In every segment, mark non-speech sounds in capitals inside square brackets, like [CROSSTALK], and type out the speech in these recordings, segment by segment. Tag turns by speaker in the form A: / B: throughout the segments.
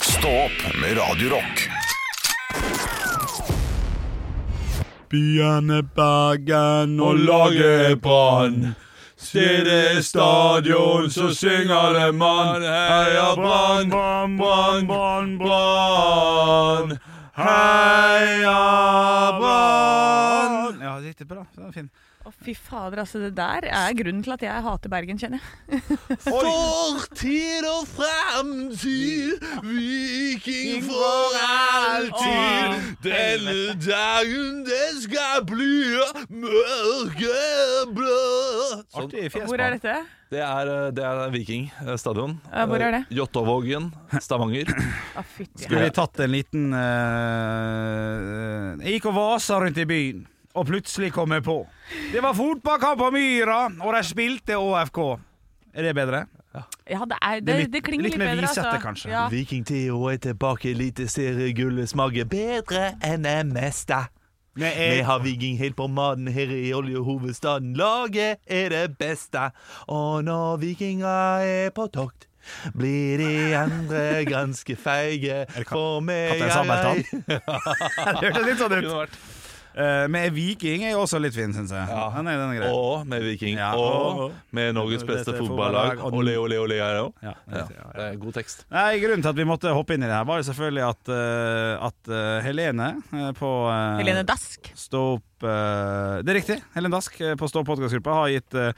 A: Stå opp med Radio Rock.
B: Byene Bergen og laget Brann. Stedet er stadion, så synger det mann. Heia Brann, Brann, Brann, Brann. Heia Brann!
C: Ja, riktig bra. Det var fin.
D: Å, fy fader, altså. Det der er grunnen til at jeg hater Bergen, kjenner jeg.
B: Fortid og fremtid, viking for alltid. Denne dagen, den skal bli mørkeblå.
C: Artig fjes.
D: Hvor er dette?
E: Det er, eh, det er Viking eh, stadion.
D: Ja, hvor er det?
E: Eh, Jåttåvågen, Stavanger.
B: [LAUGHS]
D: Å, fytti.
C: Skulle vi tatt en liten eh, Jeg gikk og vasa rundt i byen, og plutselig kom jeg på. Det var fotballkamp på Myra, og de spilte ÅFK. Er det bedre?
D: Ja, det, er,
C: Det
D: det,
C: er litt-
D: det klinger
C: litt
D: litt,
C: mer
D: bedre, altså.
C: visete, kanskje.
D: Ja.
E: Viking TH er tilbake, eliteseriegullet smaker bedre enn det meste.
C: Med E-
E: Vi
C: jeg,
E: har Viking helt på maten her i oljehovedstaden. Laget er det beste. Og når vikinger er på tokt, blir de andre ganske feige.
C: det Ka-
E: For meg
C: Kaptein Sabeltann? det hørtes litt sånn ut.
E: Kunne vært.
C: Eh, men jeg viking er jo også litt fin, syns jeg. Den er, den er grei.
E: Og med Viking.
C: Ja.
E: Og med Norges beste
C: Dette fotballag.
E: fotballag. Ole, ole, ole, jeg òg.
C: Ja,
E: Ja.
C: riktig, ja, ja.
E: Det er god tekst.
C: Nei, Grunnen til at vi måtte hoppe inn i det her, var jo selvfølgelig at, eh, at eh, Helene eh, på eh,
D: Helene Dask.
C: Stå opp eh, Det er riktig. Helen Dask eh, på Stå opp-podkastgruppa har gitt eh,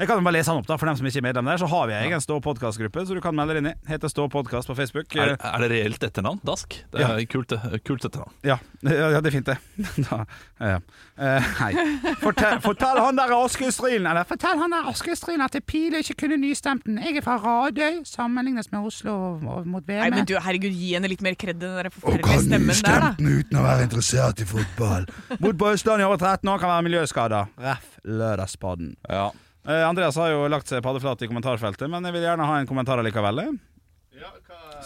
C: Jeg kan jo bare lese han opp, da, for dem som ikke er medlem der. Så har vi egen Stå opp-podkastgruppe, så du kan melde deg inn i. Heter Stå opp-podkast på Facebook.
E: Er,
C: Eh,
E: er det reelt etternavn? Dask? Det er kult, kult etternavn.
C: Ja, [LAUGHS] ja, ja, det er fint, det. [LAUGHS] da, ja. Eh, hei. Fortell, fortell han der Askild Stryn Eller fortell han der Askild Stryn at Piløy ikke kunne nystemt den. Jeg er fra Radøy, sammenlignes med Oslo og mot VM.
D: Nei, men du, herregud, gi henne litt mer kred enn den der forferdelige stemmen der, da.
B: uten å være interessert i fotball.
C: Bort på Østlandet i over 13 år kan være miljøskada. Ref. Lørdagspodden.
E: Ja.
C: Eh, Andreas har jo lagt seg paddeflat i kommentarfeltet, men jeg vil gjerne ha en kommentar allikevel. eh.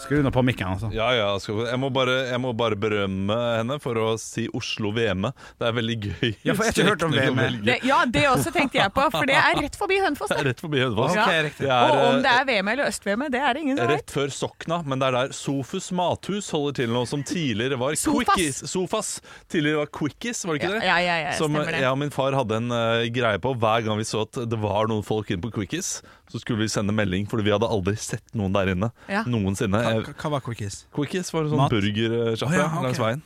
C: Skru nå på mikken, altså.
E: Ja, ja, skal, jeg, må bare, jeg må bare berømme henne for å si Oslo VM. Det er veldig gøy.
C: Ja, for jeg har ikke hørt om
E: strekning å
C: VM.
E: velge.
D: Det, ja, det også tenkte jeg på, for det er rett forbi Hønefoss.
E: Det
D: det.
E: er rett forbi Hønefoss.
D: Ja. Ok,
E: Det er,
D: Og om det
E: eh,
D: er VM eller Øst-VM, det er det ingen som vet.
E: Rett før Sokna, men det er der Sofus mathus holder til nå, som tidligere var
D: Sofas.
E: Quickies. Sofas. Tidligere var Quickies, var det ikke
D: Ja,
E: det?
D: ja, ja, ja,
E: som
D: stemmer det.
E: jeg og min far hadde en eh, greie på hver gang vi så at det var noen folk inne på Quickies. Så skulle vi sende melding, fordi vi hadde aldri sett noen der inne
D: Ja.
E: noensinne. Jeg-
C: Hva var quickies?
E: Quickies var en sånn
C: Mat.
E: burgersjappe
C: Å, ja, ok.
E: langs veien.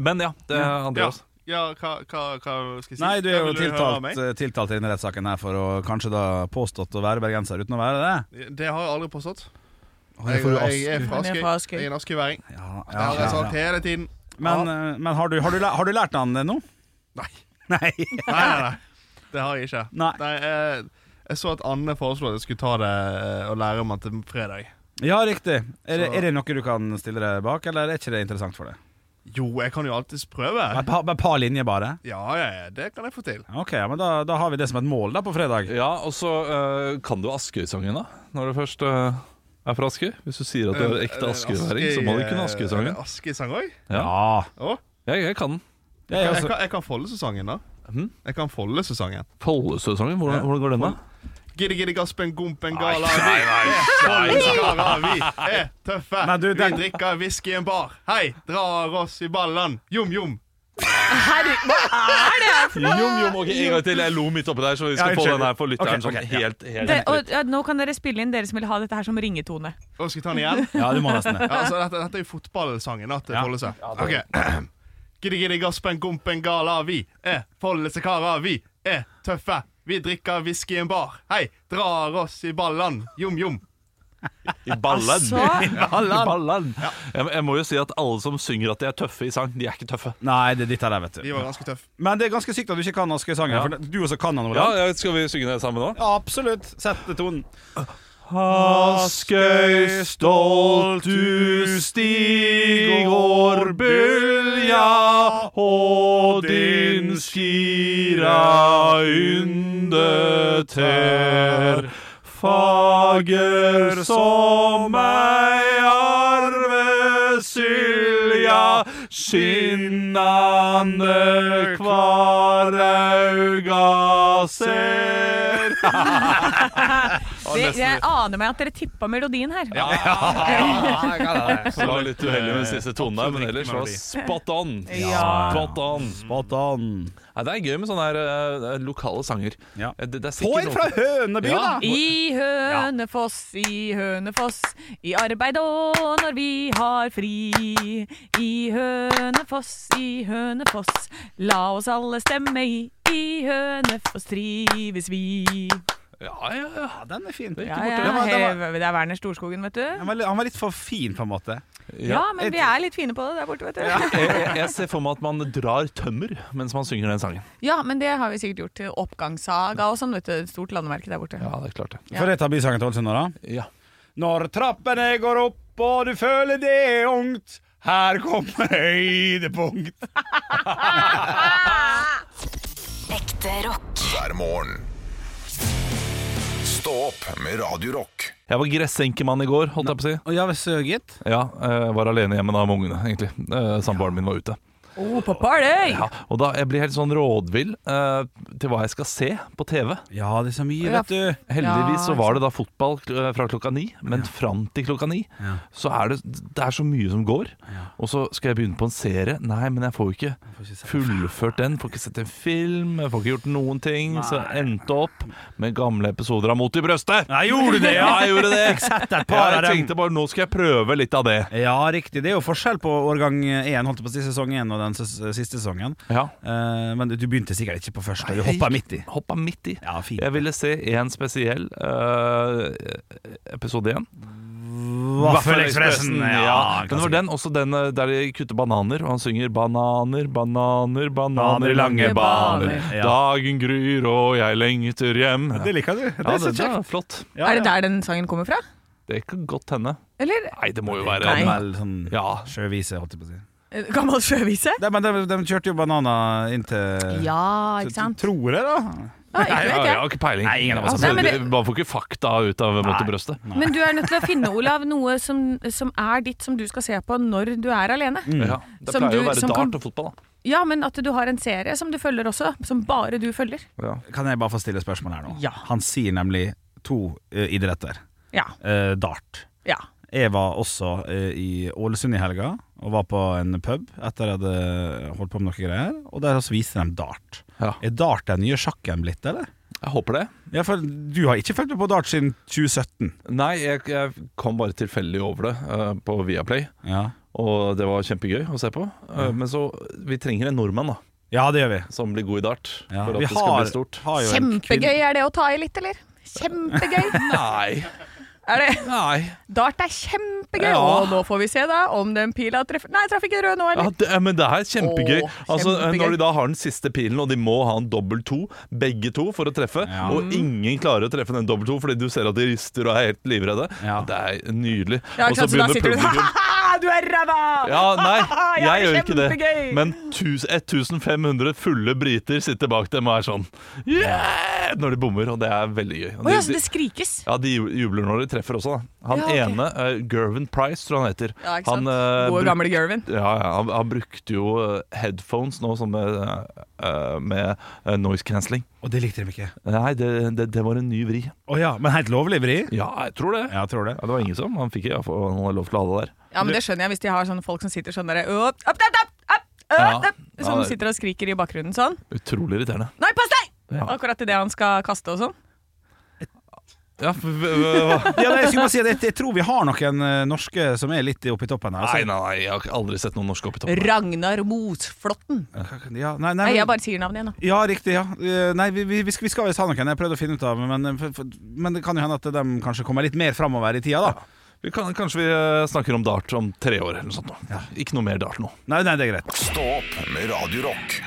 E: Men ja, det er Andreas.
B: Ja, hva, hva, hva skal jeg si?
C: Nei, du er
B: Hva
C: jo
B: vil høre
C: tiltalt,
B: av meg?
C: eh, tiltalt i denne rettssaken her for å kanskje da påstått å være bergenser uten å være det.
B: Det har jeg aldri påstått.
C: Jeg-
B: Jeg, jeg er
D: Han er fra Askøy.
B: fra Askøy. Jeg er en askøyværing.
C: Ja,
B: Det har
C: ja,
B: jeg
C: ja,
B: sagt
C: ja.
D: [LAUGHS]
B: hele tiden.
C: Men, eh, men har, du, har, du, læ- har du lært han det nå?
B: Nei.
C: [LAUGHS] Nei.
B: Nei, nei, nei. Det har jeg ikke.
C: Nei.
B: Nei, jeg, jeg så at Anne foreslo at jeg skulle ta det eh, og lære om det til fredag.
C: Ja, riktig. Er det,
B: Så-
C: er det noe du kan stille deg bak, eller er ikke det interessant for deg?
B: Jo, jeg kan jo alltids prøve.
C: Bare et par- bare et par linjer, bare?
B: Ja, ja, ja, det kan jeg få til.
C: Ok, ja, men da, da har vi det som et mål da på fredag.
E: Ja, og så eh, kan du Askøy-sangen, da? Når du først eh, er fra Askøy? Hvis du sier at du er
B: Eh,
E: ekte askøyværing, så må du kunne Askøy-sangen.
B: Askøy-sang òg?
C: Ja.
B: Jeg,
E: Jeg, jeg kan altså den.
C: Jeg,
B: jeg, kan- jeg kan Follesesongen, da.
C: Hm?
E: Mhm.
B: Jeg kan Follesesongen.
E: Follesø-sangen, hvordan,
B: Ja.
E: hvordan går den, da?
B: Giddi giddi gaspen gumpen gala vi. Eh, Follesekarer, vi er tøffe.
C: Men du, den-
B: Vi drikker whisky i en bar. Hei, drar oss i ballen. Jom, jom.
D: Herre, hva er det her for noe?
E: Jom, jom, ok, en gang til. Jeg lo midt oppi der, så vi skal
C: Ja,
E: få
C: unnskyld.
E: den her for lytteren
C: Ok, ok,
E: sånn helt, helt
D: Det, og, ja, nå kan dere spille inn dere som vil ha dette her som ringetone.
B: Og skal jeg ta den igjen?
C: ja, du må nesten
B: [LAUGHS]
C: det.
B: Ja, altså, dette, dette er jo fotballsangen da, til
C: Ja.
B: Follese. Ok. [CLEARS THROAT] Giddi giddi gaspen gumpen gala vi er Follesekarer, vi er tøffe. Vi drikker whisky i en bar. Hei, drar oss i ballen. Jom, jom.
E: I ballen.
D: Så
E: [LAUGHS] I ballen. Jeg, jeg må jo si at alle som synger at de er tøffe i sang, de er ikke tøffe.
C: Nei, det er ditt her, vet du.
B: De var ganske tøffe.
C: Men det er ganske sykt at du ikke kan Askøy-sangen.
E: Ja.
C: For du også kan den,
E: Ja,
C: Olav.
E: ja, Skal vi synge det sammen nå?
C: absolutt. Sett tonen.
E: Askøy, stolt du stigår bølja, og din skira yndeter. Fager som ei arvesylja, skinnande kvar auga ser.
D: Det, jeg aner meg at dere tippa melodien her.
C: Ja, jeg kan det.
E: Det var litt uheldig med den siste tonen der, men ellers var det spot on.
D: Ja.
E: Spot on.
C: Spot on.
E: Nei, det er gøy med sånne her, eh, lokale sanger.
C: Ja.
E: Eh, Det, det er
C: Få
E: sikkert
C: en
E: noen-
C: fra Høneby,
E: Ja.
C: da!
D: I Hønefoss, i Hønefoss, i arbeid og når vi har fri. I Hønefoss, i Hønefoss, la oss alle stemme i. I Hønefoss trives vi.
E: Ja, ja, ja.
C: Ja, den er fin.
D: Ja,
C: Den
D: ja,
C: var- den var-
D: he- det er Werner Storskogen, vet du.
C: Han var, li- han var litt for fin, på en måte.
D: Ja, men vi er litt fine på det der borte, vet du.
E: Jeg, jeg- jeg ser for meg at man drar tømmer mens man synger den sangen.
D: [LAUGHS] Ja, men det har vi sikkert gjort til Oppgangssaga og sånn, vet du. Et Stort landemerke der borte.
E: Ja, det er klart det.
D: Ja.
C: Får jeg ta bysangen til Ålesund nå, da?
E: Ja.
C: Når trappene går opp og du føler det er ungt, her kommer høydepunkt.
F: Ekte rock.
A: hver morgen. Stå opp med Radio Rock.
E: Jeg var gressenkemann i går, holdt jeg på å si.
C: Og ja, søget.
E: Ja, eh, var alene hjemme da med ungene, egentlig. Eh, Samboeren min var ute.
D: Oh, på party!
E: Ja, og da jeg blir helt sånn rådvill eh, til hva jeg skal se på TV.
C: Ja, det er så mye,
D: Ja.
C: vet du.
E: Heldigvis så
D: Ja,
E: var det da fotball eh, fra klokka ni, men fram til klokka ni
C: Ja.
E: så er det, det er så mye som går. Og så skal jeg begynne på en serie. Nei, men jeg får jo ikke fullført den. Får ikke sett en film, jeg får ikke gjort noen ting. Så jeg endte opp med gamle episoder av Mot i brøstet.
C: Nei, gjorde du
E: [LAUGHS]
C: det,
E: Ja,
C: [LAUGHS]
E: jeg gjorde det!
C: Sett et
E: Ja,
C: par av
E: jeg
C: dem.
E: tenkte bare nå skal jeg prøve litt av det.
C: Ja, riktig. Det er jo forskjell på årgang én, holdt jeg på å si, sesong én, og den ses- siste sesongen.
E: Ja,
C: Eh, men du du begynte sikkert ikke på første, du hoppa midt i.
E: Hoppa midt i.
C: Ja, fint.
E: Jeg ville se én spesiell eh, episode igjen.
C: Vaffelekspressen!
E: Ja, men det var den, også den eh, der de kutter bananer, og han synger 'Bananer, bananer, bananer i lange
D: Lange
E: baner'.
D: baner.
C: Ja.
E: Dagen gryr og jeg lengter hjem.
C: Det liker du.
E: Ja,
C: Det er så
E: det
C: kjekt.
E: er flott.
C: Ja,
D: Er det
C: ja.
D: der den sangen kommer fra?
E: Det kan godt hende.
D: Eller
E: Nei, det må jo være
D: Nei.
C: Gammel sånn
E: Ja.
C: sjøvise, holdt jeg på å si.
D: eh, Gammel sjøvise?
C: Nei, men de, de kjørte jo bananer inn til
D: Ja, ikke sant?
C: Tror jeg, da.
D: Eh, Ja, ikke
E: Nei,
D: vet
E: jeg
D: jeg.
E: har ikke peiling.
C: Nei, ingen av oss
E: Altså, Mm.
D: har peiling.
E: vi- Man får ikke fakta ut av mot i brøstet.
D: Men du er nødt til å finne, Olav, noe som, som er ditt som du skal se på når du er alene.
E: Ja, det
D: Som
E: pleier
D: du-
E: jo å være
D: som
E: dart
D: kan-
E: og fotball, da.
D: Ja, men at du har en serie som du følger også, som bare du følger.
E: Ja.
C: Kan jeg bare få stille spørsmål her nå?
D: Ja.
C: Han sier nemlig to eh, idretter.
D: Ja.
C: Eh, dart.
D: ja.
C: Jeg var også eh, i Ålesund i helga og var på en pub etter jeg hadde holdt på med noe greier. Og der også viste de dart.
E: Ja.
C: Er dart den nye sjakken blitt, eller?
E: Jeg håper det.
C: Ja, for du har ikke fulgt med på dart siden 2017.
E: Nei, jeg, jeg kom bare tilfeldig over det eh, på Viaplay,
C: Ja,
E: og det var kjempegøy å se på. Eh, men så Vi trenger en nordmann, da.
C: ja det gjør vi.
E: som blir god i dart
C: Ja,
E: for at
C: vi
E: det skal bli stort.
C: har jo en
D: Kjempegøy er det å ta i litt, eller? Kjempegøy.
E: [LAUGHS] Nei.
D: Er det?
E: Nei.
D: Dart er kjempegøy.
E: Ja.
D: Og nå får vi se, da, om den pila treffer Nei, traff ikke rød nå,
E: Ja,
D: eller?
E: det, men det er kjempegøy.
D: Åh,
E: altså,
D: kjempegøy.
E: Når de da har den siste pilen, og de må ha en dobbel to, begge to, for å treffe,
C: Ja.
D: Mm.
E: og ingen klarer å treffe den dobbel to fordi du ser at de rister og er helt livredde,
C: Ja.
E: det er nydelig.
D: Ja,
E: og så
D: ikke sant, så da
E: begynner
D: sitter du
E: publikum
D: [LAUGHS] ha du er ræva!
E: ja, Nei,
D: Ja,
E: jeg gjør ikke det.
D: kjempegøy.
E: Men tus- 1500 fulle briter sitter bak dem og er sånn yeah! når de bommer, og det er veldig gøy. Og
D: Å
E: de-
D: ja, så det skrikes.
E: Ja, De ju- jubler når de treffer også. da Han
D: Ja, ok.
E: ene, eh, Gervin Price, tror jeg han heter.
D: Ja, ikke
E: han,
D: sant.
E: eh,
D: Gode,
E: bruk-
D: gamle Gervin.
E: ja, ja, han, han brukte jo eh, headphones nå som med, eh, med eh, noise cancelling.
C: Og det likte de ikke.
E: Nei, det, det, det var en ny vri.
C: Å ja, men helt lovlig vri?
E: Ja, jeg tror det. Ja.
C: Ja, tror det.
E: Det var ingen som Han fikk i hvert fall han hadde lov til å ha det der.
D: Ja, men det skjønner jeg hvis de har sånne folk som sitter sånn derre «Opp, opp, opp, opp, opp,
E: Ja.
D: opp»,
E: Ja,
D: Som
E: det-
D: sitter og skriker i bakgrunnen sånn.
E: Utrolig irriterende.
D: Nei, pass deg!
E: Ja.
D: Akkurat idet han skal kaste og sånn.
E: Ja, v- v- hva-
C: Ja, nei, jeg skulle bare si at jeg, jeg tror vi har noen eh, norske som er litt oppi toppen her.
E: nei,
C: altså.
E: nei, nei, jeg har aldri sett noen norske opp i toppen.
D: Ragnar Mosflåtten.
C: Ja, nei, nei,
D: Nei,
C: men-
D: jeg bare sier navnet igjen, da.
C: Ja, riktig. ja Eh, Nei, vi, vi, vi skal- vi skal visst ha noen. Jeg prøvde å finne ut av men, eh, for- for- men det kan jo hende at de kanskje kommer litt mer framover i tida, da.
E: Vi kan, kanskje vi eh, snakker om dart om tre år eller noe sånt. nå. Ikke noe mer dart nå.
C: Nei, nei, det er greit.
A: Stå opp med Radio Rock.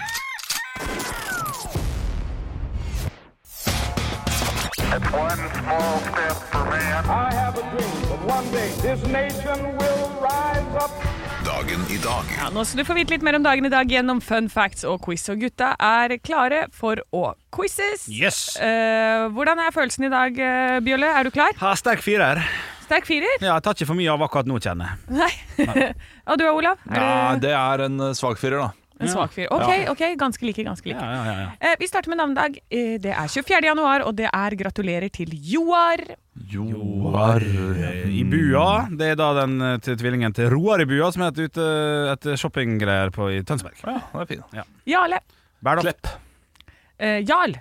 G: I have a dream that one day this nation will rise up.
A: Dagen i dag
D: Ja, nå skal du få vite litt mer om dagen i dag gjennom fun facts og quiz. Og gutta er klare for å quizes.
C: Yes!
D: Eh, hvordan er følelsen i dag, eh, Bjølle? Er du klar?
C: Ha sterk firer.
D: Sterk firer?
C: Ja, jeg tar ikke for mye av akkurat nå, kjenner jeg.
D: Nei. [LAUGHS] Og du er Olav? Er
E: Nei,
D: du-
E: det er en eh, svak firer, da.
D: En svak fyr. Ok, ok, ganske like, ganske like.
C: Ja, ja, ja, ja.
D: Eh, vi starter med navnedag. Eh, det er 24. januar, og det er gratulerer til Joar.
E: Joar
C: Eh, I bua. Det er da den eh, til tvillingen til Roar i bua som er et, ute, et shoppinggreier på i Tønsberg.
E: Ja, den er fin.
D: Jarle.
C: Berdal.
E: Klepp.
D: Eh, Jarl.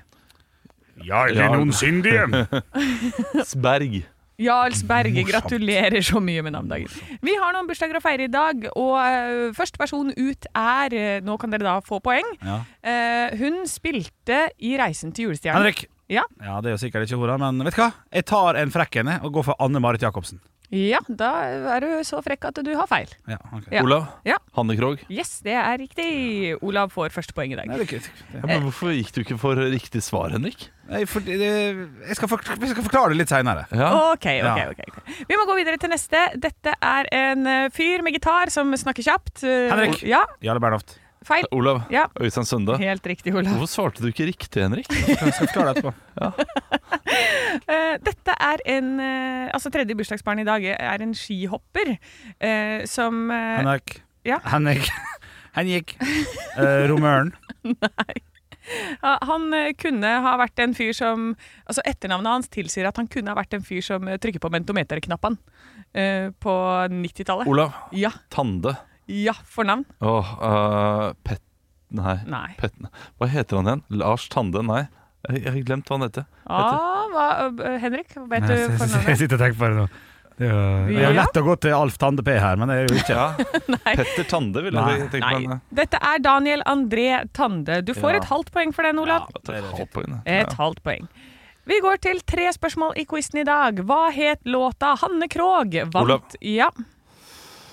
C: Jarl
E: Jarl.
C: syndige.
E: Sberg.
D: Jarlsberg, gratulerer så mye med navnedagen. Vi har noen bursdager å feire i dag, og eh, første person ut er eh, Nå kan dere da få poeng.
C: [LAUGHS] Ja.
D: Eh, hun spilte i 'Reisen til julestjernen'.
C: Henrik.
D: Ja.
C: Ja, det er jo sikkert ikke hora, men vet du hva? Jeg tar en frekk en jeg, og går for Anne Marit Jacobsen.
D: Ja, da er du så frekk at du har feil.
C: Ja, ok.
D: Ja.
E: Olav.
D: Ja.
E: Hanne Krogh.
D: Yes, det er riktig. Olav får første poeng i dag.
C: Nei, det er ikke-
E: Ja, men hvorfor gikk du ikke for riktig svar, Henrik?
C: Nei, for, det, det- jeg, skal for, jeg skal forklare det litt seinere.
E: Ja.
D: Ok, ok,
C: Ja.
D: ok. ok. Vi må gå videre til neste. Dette er en eh, fyr med gitar som snakker kjapt. Eh,
C: Henrik.
D: Ja,
C: Jarle Bernhoft.
D: feil.
E: Olav.
D: Ja.
E: Øystein Sønde.
D: Helt riktig, Olav.
E: Hvorfor svarte du ikke riktig,
D: [LAUGHS]
E: Henrik?
C: Jeg skal forklare det etterpå.
D: Eh, dette er en eh, Altså, tredje bursdagsbarn i dag er en skihopper eh, som eh,
C: Henrik.
D: Ja.
C: Henrik. Henrik. Eh,
D: [LAUGHS]
C: Romøren.
D: Ja, Han eh, kunne ha vært en fyr som Altså Etternavnet hans tilsier at han kunne ha vært en fyr som eh, trykker på mentometerknappene eh, på 90-tallet.
E: Olav.
D: Ja,
E: Tande.
D: ja, fornavn.
E: Åh, eh, Pet... Nei.
D: Nei.
E: Pet... Hva heter han igjen? Lars Tande? Nei. Jeg jeg har glemt hva han
D: [LAUGHS]
E: heter.
D: Ah, hva, eh, Henrik, vet du
C: Jeg, jeg, jeg,
D: fornavnet?
C: sitter og tenker på det nå. Det er jo- det er jo
D: Ja.
C: lett å gå til Alf Tande P her, men det er jo ikke
E: Ja. Petter Tande, ville
C: Nei.
E: jeg tenkt
D: Nei.
E: meg.
D: Dette er Daniel André Tande. Du
E: Ja.
D: får et halvt poeng for den, Olav.
E: Ja, det er et halvt poeng, det.
D: Et
E: Ja.
D: halvt poeng. Vi går til tre spørsmål i quizen i dag. Hva het låta Hanne Krogh vant
E: Olav.
D: Ja,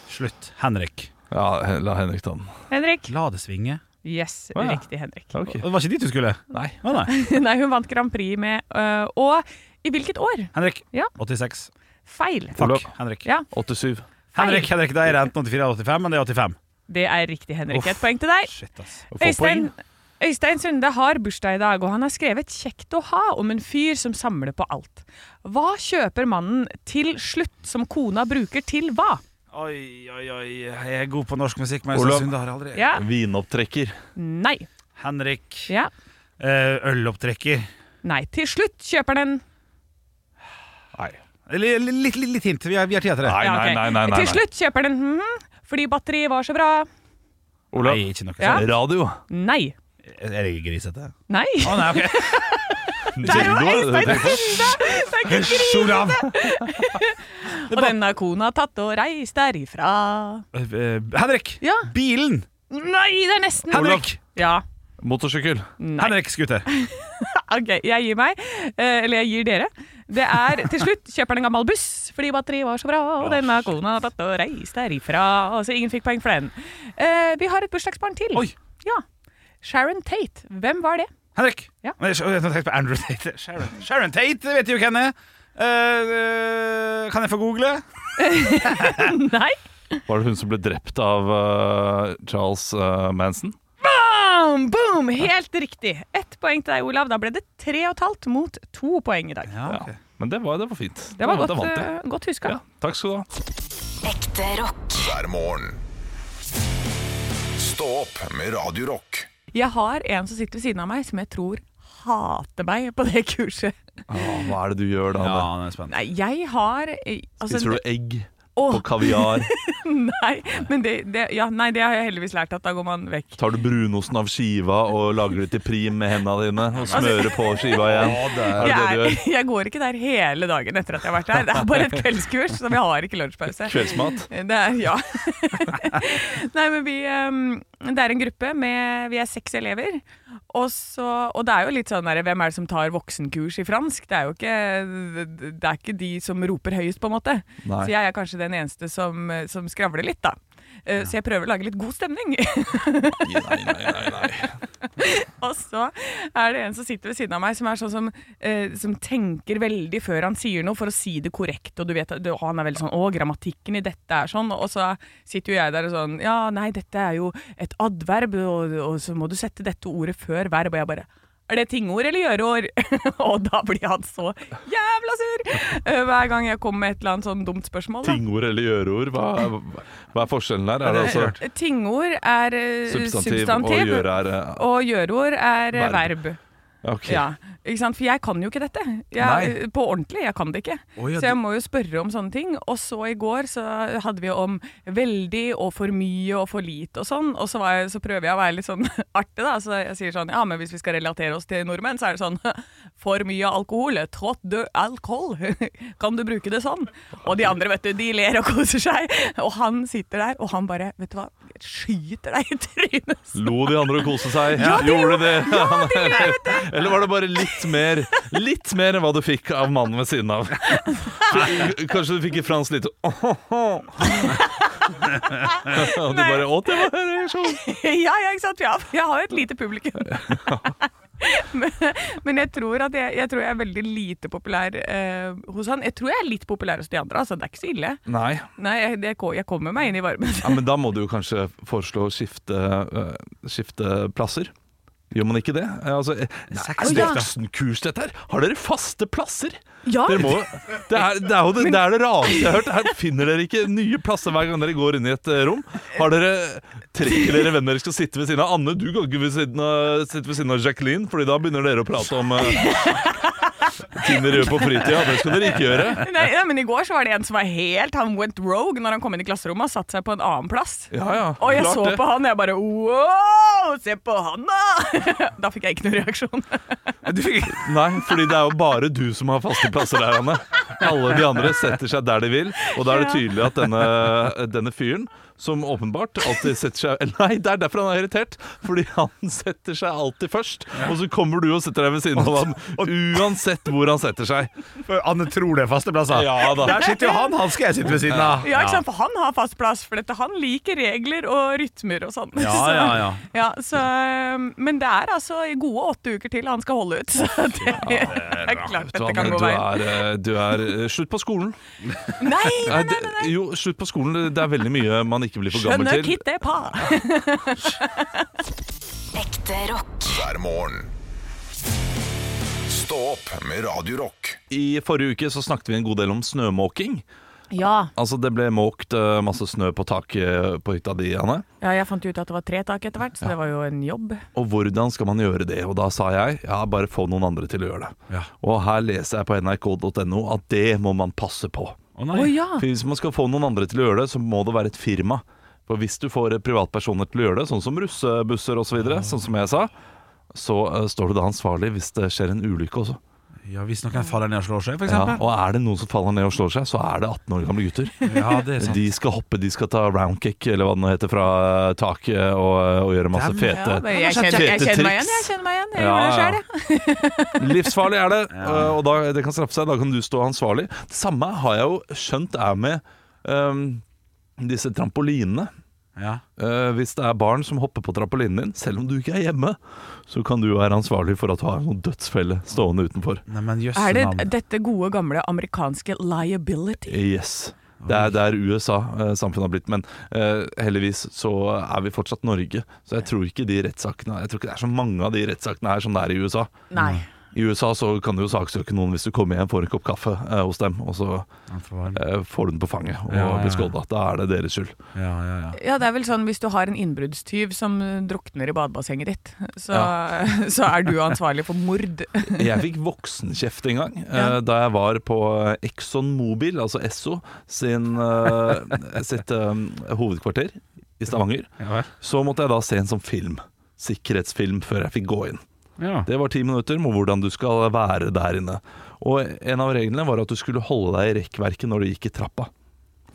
C: Slutt. Henrik.
E: Ja, he- la Henrik ta den.
D: Henrik.
C: La det svinge.
D: Yes,
E: Å, ja.
D: riktig, Henrik.
E: Ok.
C: Det var ikke dit du skulle?
E: Nei.
C: Å nei.
D: [LAUGHS] Nei, hun vant Grand Prix med øh, Og i hvilket år?
C: Henrik.
D: Ja.
C: 86.
D: Feil.
C: Fuck.
E: Olav.
C: Henrik.
D: Ja.
E: 87.
C: Henrik, Henrik, da er det enten 84 eller 85, men det er 85.
D: Det er riktig, Henrik.
E: Uff.
D: Et poeng til deg.
C: Shit, ass.
E: Få
D: Øystein,
E: poeng.
D: Øystein Sunde har bursdag i dag, og han har skrevet 'Kjekt å ha' om en fyr som samler på alt. Hva kjøper mannen til slutt som kona bruker til hva?
C: Oi, oi, oi. Jeg er god på norsk musikk, men
E: Olav.
C: jeg synes det har jeg aldri
E: Mm.
D: Ja.
E: Vinopptrekker.
D: Nei.
C: Henrik.
D: Ja.
C: Eh, ølopptrekker.
D: Nei. Til slutt kjøper den
E: Nei.
C: Eller Litt, litt, litt, litt hint. Vi har, vi har tid til det.
E: Nei,
D: Ja,
E: nei,
D: ok.
E: nei, nei, nei,
D: Til
E: nei.
D: slutt kjøper den hm, fordi batteriet var så bra.
E: Olav.
C: Nei, ikke noe
D: Ja.
C: sånt.
E: Radio.
D: Nei.
C: Er jeg grisete? Å
D: [LAUGHS] Nei.
C: nei, ok.
D: Der var
E: Dildo, er det det du tenker på?
C: Hysj, Olav!
D: Og denne kona har tatt og reist derifra.
C: Eh, eh, Henrik!
D: Ja.
C: Bilen!
D: Nei, det er nesten.
C: Henrik!
D: Ja.
E: Motorsykkel.
D: Nei.
C: Henrik Scooter.
D: Ok, jeg gir meg. Eh, eller jeg gir dere. Det er til slutt kjøper den en gammel buss fordi batteriet var så bra, og denne kona har tatt og reist derifra. Og så ingen fikk poeng for den. Eh, vi har et bursdagsbarn til.
C: Oi.
D: Ja. Sharon Tate. Hvem var det?
C: Henrik!
D: Ja.
C: Nei, Jeg jeg tenkte på Andrew Tate. Sharon, Sharon Tate, det vet jeg jo hvem er. Eh, eh, kan jeg få google?
D: [LAUGHS] Nei.
E: Var det hun som ble drept av eh, Charles eh, Manson?
D: Boom, boom! Helt riktig. Ett poeng til deg, Olav. Da ble det tre og et halvt mot to poeng i dag.
C: Ja, ok.
E: Ja. Men det var, det var fint.
D: Det var
E: Da
D: godt,
E: vant jeg.
D: eh, godt huska.
E: Ja, takk skal du ha.
F: Ekte rock.
A: hver morgen. Stå opp med Radio Rock.
D: Jeg har en som sitter ved siden av meg, som jeg tror hater meg på det kurset.
E: Åh, hva er det du gjør da?
C: Ja,
E: Anne?
C: nå er jeg spent.
D: Nei, jeg har eh, altså,
E: Spiser du egg
D: Åh.
E: på kaviar?
D: Nei, men det, det, ja, nei, det har jeg heldigvis lært at da går man vekk.
E: Tar du brunosten av skiva og lager det til prim med hendene dine? Og smører på skiva igjen? Er det det du
D: Jeg,
E: gjør?
D: Altså, er, [LAUGHS] jeg går ikke der hele dagen etter at jeg har vært der. Det er bare et kveldskurs, så vi har ikke lunsjpause.
E: Kveldsmat?
D: [LAUGHS] Det er, ja. Nei, men vi ehm, Det er en gruppe med Vi er seks elever. Og, så, og det er jo litt sånn der, Hvem er det som tar voksenkurs i fransk? Det er jo ikke Det er ikke de som roper høyest, på en måte.
E: Nei.
D: Så jeg er kanskje den eneste som, som skravler litt, da. Eh, Så jeg prøver å lage litt god stemning.
E: Nei, nei, nei. nei.
D: [LAUGHS] Og så er det en som sitter ved siden av meg som er sånn som, eh, som tenker veldig før han sier noe for å si det korrekt. Og du vet, at- du, han er veldig sånn 'Å, grammatikken i dette er sånn.' Og så sitter jo jeg der og sånn 'Ja, nei, dette er jo et adverb, og, og så må du sette dette ordet før verb.' Og jeg bare Er det tingord eller gjøreord? [LAUGHS] og da blir han så jævla sur eh, hver gang jeg kommer med et eller annet sånn dumt spørsmål. Da.
E: Tingord eller gjøreord? Hva, er- hva er forskjellen der? Er det
C: det har jeg
E: altså
D: Eh, Tingord er eh,
E: substantiv,
D: substantiv,
E: og gjøre er eh,
D: og gjøreord er eh,
E: Verb.
D: verb.
E: Ok.
D: Ja, ikke sant? For jeg kan jo ikke dette.
E: Nei.
D: Jeg, på ordentlig, jeg kan det ikke.
E: Å, ja,
D: så jeg
E: du-
D: må jo spørre om sånne ting. Og så i går så hadde vi om veldig og for mye og for lite og sånn. Og så, var jeg, så prøver jeg å være litt sånn [LAUGHS] artig, da. Så jeg sier sånn Ja, men hvis vi skal relatere oss til nordmenn, så er det sånn [LAUGHS] For mye alkohol. Trått død alkohol. [LAUGHS] Kan du bruke det sånn? Og de andre, vet du, de ler og koser seg. Og han sitter der, og han bare Vet du hva? Skyter deg i trynet.
E: Lo de andre og koste seg?
D: [LAUGHS] Ja, de
E: Gjorde
D: gjorde-
E: de det?
D: ja, de
E: [LAUGHS]
D: gjorde
E: Eller var det bare litt mer Litt mer enn hva du fikk av mannen ved siden av? Kanskje du fikk et fransk [LAUGHS] lite «Åhåhå». Og du bare Å, det var en reaksjon!
D: [LAUGHS] Ja, ja, ikke sant? Ja, for jeg har jo et lite publikum. [LAUGHS] men, men jeg tror at jeg, jeg tror jeg er veldig lite populær eh, hos han. Jeg tror jeg er litt populær hos de andre, altså. Det er ikke så ille.
E: Nei.
D: Nei, jeg, jeg, ko- jeg kommer meg inn i varmen. [LAUGHS]
E: Ja, men da må du jo kanskje foreslå å skifte, øh, skifte plasser. Gjør man ikke det? Eh, Altså, eh, er det
D: Å, ja.
E: voksenkurs, dette her? Har dere faste plasser?
D: Ja,
E: Dere må, det, er, det er jo det, det, er det rareste jeg har hørt. Her finner dere ikke nye plasser hver gang dere går inn i et eh, rom. Har dere Trekker dere hvem dere skal sitte ved siden av? Anne, du kan ikke ved siden av, sitte ved siden av Jacqueline, Fordi da begynner dere å prate om eh, [LAUGHS] ting dere gjør på fritida. Det skal dere ikke gjøre.
D: Nei, ja, men i går så var det en som var helt Han went rogue når han kom inn i klasserommet og satte seg på en annen plass.
E: Ja, ja,
D: Og jeg
E: klart
D: så
E: det.
D: på han, og jeg bare wow, se på han da! [LAUGHS] da fikk jeg ikke noen reaksjon.
E: Du fikk... Nei, fordi det er jo bare du som har faste plasser der, Anne. Alle de andre setter seg der de vil, og da er det tydelig at denne, denne fyren, som åpenbart alltid setter seg [LAUGHS] Nei, det er derfor han er irritert! Fordi han setter seg alltid først, og så kommer du og setter deg ved siden av
D: [LAUGHS]
E: ham. Uansett hvor han setter seg.
C: For Anne tror det er faste plasser.
E: Ja da.
C: Der sitter jo han, han skal jeg sitte ved siden av.
D: Ja, ikke sant? For han har fast plass, for dette, han liker regler og rytmer og sånn.
C: Ja,
D: [LAUGHS] Så-
C: ja, ja.
D: Ja, så, øhm, men det er altså i gode åtte uker til han skal holde ut. Så det, er klart
E: Du,
D: dette kan
E: Anne,
D: gå
E: du
D: veien.
E: er, eh, du er eh, Slutt på skolen.
D: Nei, nei,
E: Nei,
D: nei!
E: det- Jo, slutt på skolen. Det er veldig mye man ikke blir for gammel
D: Skjønner
E: til.
D: kitt det, pa!
F: Ekte rock.
A: hver morgen. Stå opp med Radio Rock.
E: I forrige uke så snakket vi en god del om snømåking.
D: [LAUGHS] Ja,
E: Altså Det ble måkt eh, masse snø på taket eh, på hytta di, Anne.
D: ja, jeg fant ut at det var tre tak etter hvert, så det var jo en jobb.
E: Og hvordan skal man gjøre det? Og da sa jeg ja, bare få noen andre til å gjøre det. Og her leser jeg på nrk.no at det må man passe på.
C: Å
D: Å
C: nei.
D: ja!
E: For Hvis man skal få noen andre til å gjøre det, så må det være et firma. For hvis du får eh, privatpersoner til å gjøre det, sånn som russebusser osv., sånn som jeg sa, så eh, står du da ansvarlig hvis det skjer en ulykke også.
C: Ja, hvis noen faller ned og slår seg, for
E: Ja,
C: eksempel.
E: og er det noen som faller ned og slår seg, så er det 18 år gamle gutter.
C: Ja, det er sant.
E: De skal hoppe, de skal ta roundkick eller hva det nå heter fra eh, taket og, og gjøre masse
C: Dem,
E: fete
D: ja men jeg, kjenner, jeg kjenner meg igjen, jeg. kjenner meg igjen Jeg
E: Ja,
D: gjorde det
E: ja.
D: selv, jeg.
E: [LAUGHS] Livsfarlig er det, eh, og da, det kan straffe seg. Da kan du stå ansvarlig. Det samme har jeg jo skjønt er med ehm, disse trampolinene.
C: Ja.
E: Eh, hvis det er barn som hopper på trampolinen din, selv om du ikke er hjemme, så kan du være ansvarlig for at du har en sånn dødsfelle stående utenfor.
C: Nei, men jøsse
D: Er
C: navn.
D: det dette gode, gamle amerikanske liability?
E: Yes. Det er der USA eh, samfunnet har blitt, men eh, heldigvis så er vi fortsatt Norge. Så jeg tror ikke de rettssakene Jeg tror ikke det er så mange av de rettssakene her som det er i USA.
D: Nei.
E: I USA så kan du jo saksøke noen hvis du kommer hjem, får en kopp kaffe eh, hos dem, og så
C: Han får varm.
E: eh, får du den på fanget og
C: Ja, ja.
E: blir skåla. Da er det deres
C: [LAUGHS]
E: skyld.
C: Ja, ja, ja.
D: Ja, det er vel sånn hvis du har en innbruddstyv som drukner i badebassenget ditt, så,
E: Ja.
D: [LAUGHS] så er du ansvarlig for mord.
E: Jeg fikk voksenkjeft en gang
D: Ja.
E: eh, da jeg var på Exxon Mobil, altså Esso, sin, eh, sitt eh, hovedkvarter i Stavanger.
C: Ja vel.
E: Så måtte jeg da se en sånn film, sikkerhetsfilm, før jeg fikk gå inn.
C: Ja.
E: Det var ti minutter med hvordan du skal være der inne. Og en av reglene var at du skulle holde deg i rekkverket når du gikk i trappa.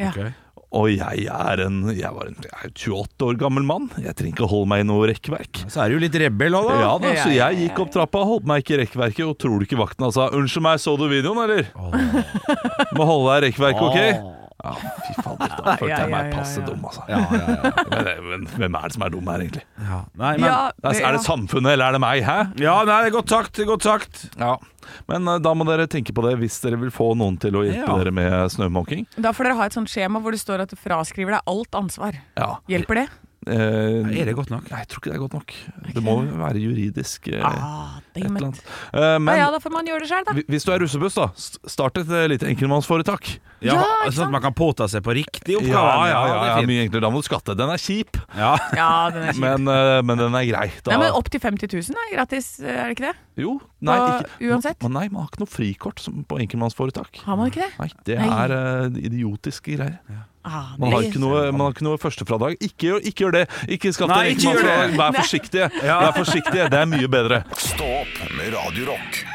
D: Ja.
C: Ok.
E: Og jeg er en, jeg var en jeg er 28 år gammel mann, jeg trenger ikke holde meg i noe rekkverk.
C: Så er du jo litt rebell òg, da.
E: Ja da, så
D: Ja, ja,
E: jeg gikk opp trappa, holdt meg ikke i rekkverket, og tror du ikke vakten sa 'unnskyld meg, så du videoen, eller?' Må holde deg i rekkverket, ok? Ja, fy fader, da følte
D: Ah. Ja, ja,
E: jeg meg
D: ja,
E: passe
D: ja.
E: dum, altså.
C: Ja, ja, ja.
E: Men, men hvem er det som er dum her, egentlig?
C: ja. Nei, men
D: Ja,
E: Er, altså, er det
D: ja.
E: samfunnet, eller er det meg? Hæ?
C: Ja, nei, det er godt sagt. det er Godt sagt.
E: Ja. Men eh, da må dere tenke på det hvis dere vil få noen til å hjelpe
C: Ja.
E: dere med snømåking.
D: Da får dere ha et sånt skjema hvor det står at du fraskriver deg alt ansvar.
E: Ja.
D: Hjelper det?
E: eh,
C: Er det godt nok?
E: Nei, jeg tror ikke det er godt nok. Det må være juridisk eh,
D: Ah,
E: et
D: damn
E: eller annet.
D: it.
E: Eh,
D: Ja,
E: men
D: ja, da får man gjøre det sjøl, da.
E: hvi- hvis du er russebuss, da, s- start et eh, lite enkeltmannsforetak.
D: Ja, ikke
C: Sånn
D: sant?
C: at man kan påta seg på riktig oppgave.
E: Ja, ja, ja, ja,
C: det er fint.
E: mye enklere. Da må du skatte. Den er kjip,
C: ja.
E: [LAUGHS]
D: Ja, den er kjip.
E: men, eh, men den er grei. Da,
D: Nei, men opp til 50 000 er gratis, Eh, er det ikke det?
E: jo, nei,
D: Hva-
E: ikke,
D: uansett?
E: Man, nei, man har ikke noe frikort som på enkeltmannsforetak.
D: Har man ikke det?
E: Nei, det
D: Nei.
E: er eh, idiotiske greier.
D: Ah,
E: Man har
D: det-
E: ikke noe, man har ikke noe førstefradrag. Ikke, gjør- ikke gjør det! Ikke skatt
C: Nei,
E: deg,
C: ikke gjør
E: enkeltmannsfradrag.
C: det.
E: Vær forsiktige.
C: [LAUGHS]
E: Vær forsiktige, det er mye bedre.
A: Stå opp med Radio Rock.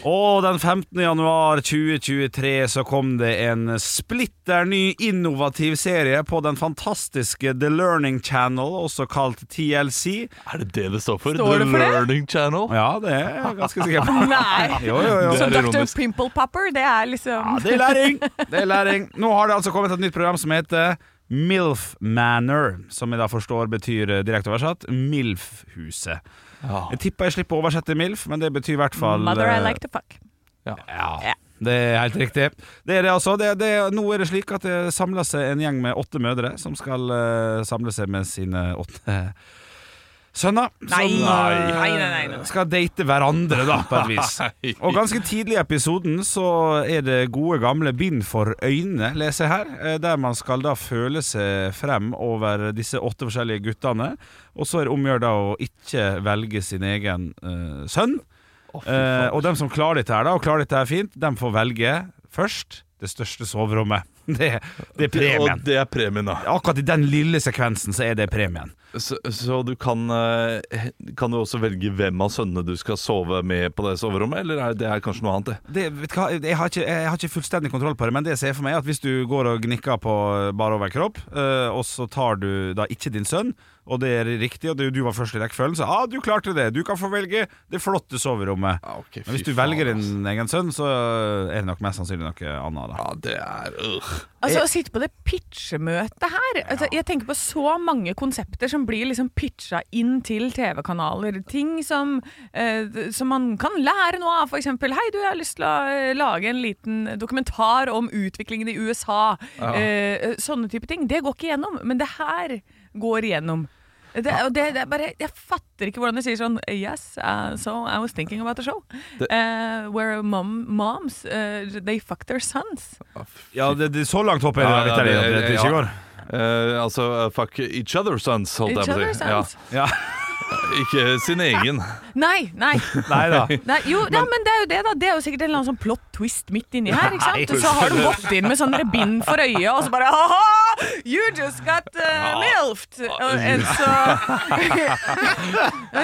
C: Og den 15. januar 2023 så kom det en splitter ny innovativ serie på den fantastiske The Learning Channel, også kalt TLC.
E: Er det det det står for?
D: Står
E: The
D: det for det?
E: Learning Channel?
C: Ja, det er jeg ganske sikker på.
D: [LAUGHS]
C: [LAUGHS]
D: Nei.
C: Jo, jo, jo.
E: Det
D: Så
E: er
D: Dr.
E: ironisk.
D: Pimple Popper, det er
C: Ja,
D: liksom
C: det er læring! Det er læring.
D: [LAUGHS]
C: Nå har det altså kommet et nytt program som heter MILF Manor, som jeg da forstår betyr eh, direkte oversatt MILF-huset.
E: Ja.
C: Jeg tipper jeg slipper å oversette MILF, men det betyr i hvert fall
D: Mother I
C: eh,
D: like to fuck.
C: Ja,
D: Ja.
C: det er helt riktig. Det er det altså. Det, det, nå er det slik at det samler seg en gjeng med åtte mødre som skal eh, samle seg med sine åtte sønner.
D: Nei.
C: Som, eh,
D: Nei, nei, nei, nei.
C: skal date hverandre, da, på
D: [LAUGHS]
C: et vis. Og ganske tidlig i episoden så er det gode gamle bind for øyne, leser jeg her. eh, Der man skal da føle seg frem over disse åtte forskjellige guttene. Og så er det omgjør da å ikke velge sin egen eh, sønn. Eh, og dem som klarer dette her, da, og klarer dette her fint, dem får velge først det største soverommet. [LAUGHS] Det, det er
E: Og
C: premien.
E: det er premien, da.
C: Akkurat i den lille sekvensen så er det premien.
E: Så, så du kan eh, Kan du også velge hvem av sønnene du skal sove med på det soverommet, eller er det er kanskje noe annet, det?
C: Det, vet du hva, jeg har, ikke, jeg har ikke fullstendig kontroll på det, men det jeg ser for meg, er at hvis du går og gnikker på bar overkropp, eh, og så tar du da ikke din sønn, og det er riktig, og det, du var først i rekkefølgen, så ah, du klarte det, du kan få velge det flotte soverommet.
E: Ja, ok,
C: Men hvis
E: fy
C: du velger
E: faen, ass.
C: din egen sønn, så er det nok mest sannsynlig noe annet, da.
E: Ja, det er øh.
D: Altså Å sitte på det pitchemøtet her altså, Jeg tenker på så mange konsepter som blir liksom pitcha inn til TV-kanaler. Ting som, eh, som man kan lære noe av. F.eks.: Hei, du, jeg har lyst til å eh, lage en liten dokumentar om utviklingen i USA. Eh, sånne type ting. Det går ikke igjennom, men det her går igjennom. Det, og det, det er bare, jeg fatter ikke hvordan de sier sånn Yes, uh, so I was thinking about the show. eh, where mom, moms, eh, they fuck their sons.
C: Ja, det, det, så langt håper jeg
E: Ja,
C: det,
E: ja,
C: det,
E: det-
C: det, det ikke
E: ja.
C: går.
E: Eh, altså, eh, fuck each other's sons, holdt
D: Each
E: jeg på å
D: other's
E: si. Ja. [LAUGHS]
D: sons.
C: Ja,
E: Ikke sin egen.
D: Nei, nei.
C: nei [LAUGHS] da.
D: nei jo, ja, men det er jo det, da. Det er jo sikkert en eller annen sånn plott twist midt inni her. ikke sant? Og så har du gått inn med sånn bind for øyet, og så bare ha You just got uh, milfed! Og, and so
C: [LAUGHS]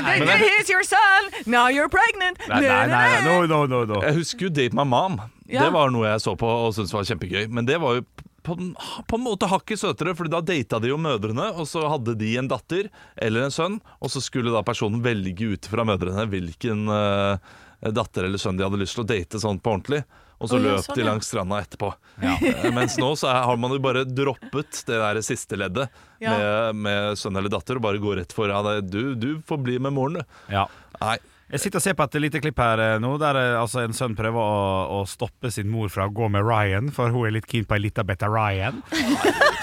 D: Here's your son! Now you're pregnant!
C: Nei, nei, nei, nei. No, no, no, no.
E: Jeg husker jo Date My Mom.
D: Ja.
E: Det var noe jeg så på og syntes var kjempegøy. Men det var jo på, en- på en måte hakket søtere, Fordi da data de jo mødrene, og så hadde de en datter eller en sønn, og så skulle da personen velge ut fra mødrene hvilken eh, datter eller sønn de hadde lyst til å date sånn på ordentlig. Og så
D: Å, ja,
E: løp
D: sånn,
E: de
D: ja.
E: langs stranda etterpå. Eh, Mens nå så er, har man jo bare droppet det der siste leddet
D: Ja.
E: med, med sønn eller datter, og bare går rett for ja, det- du, du får bli med moren, du.
C: Ja.
E: Nei,
C: Jeg sitter og ser på et lite klipp her eh, nå, der eh, altså, en sønn prøver å, å stoppe sin mor fra å gå med Ryan, for hun er litt keen på ei lita betta Ryan.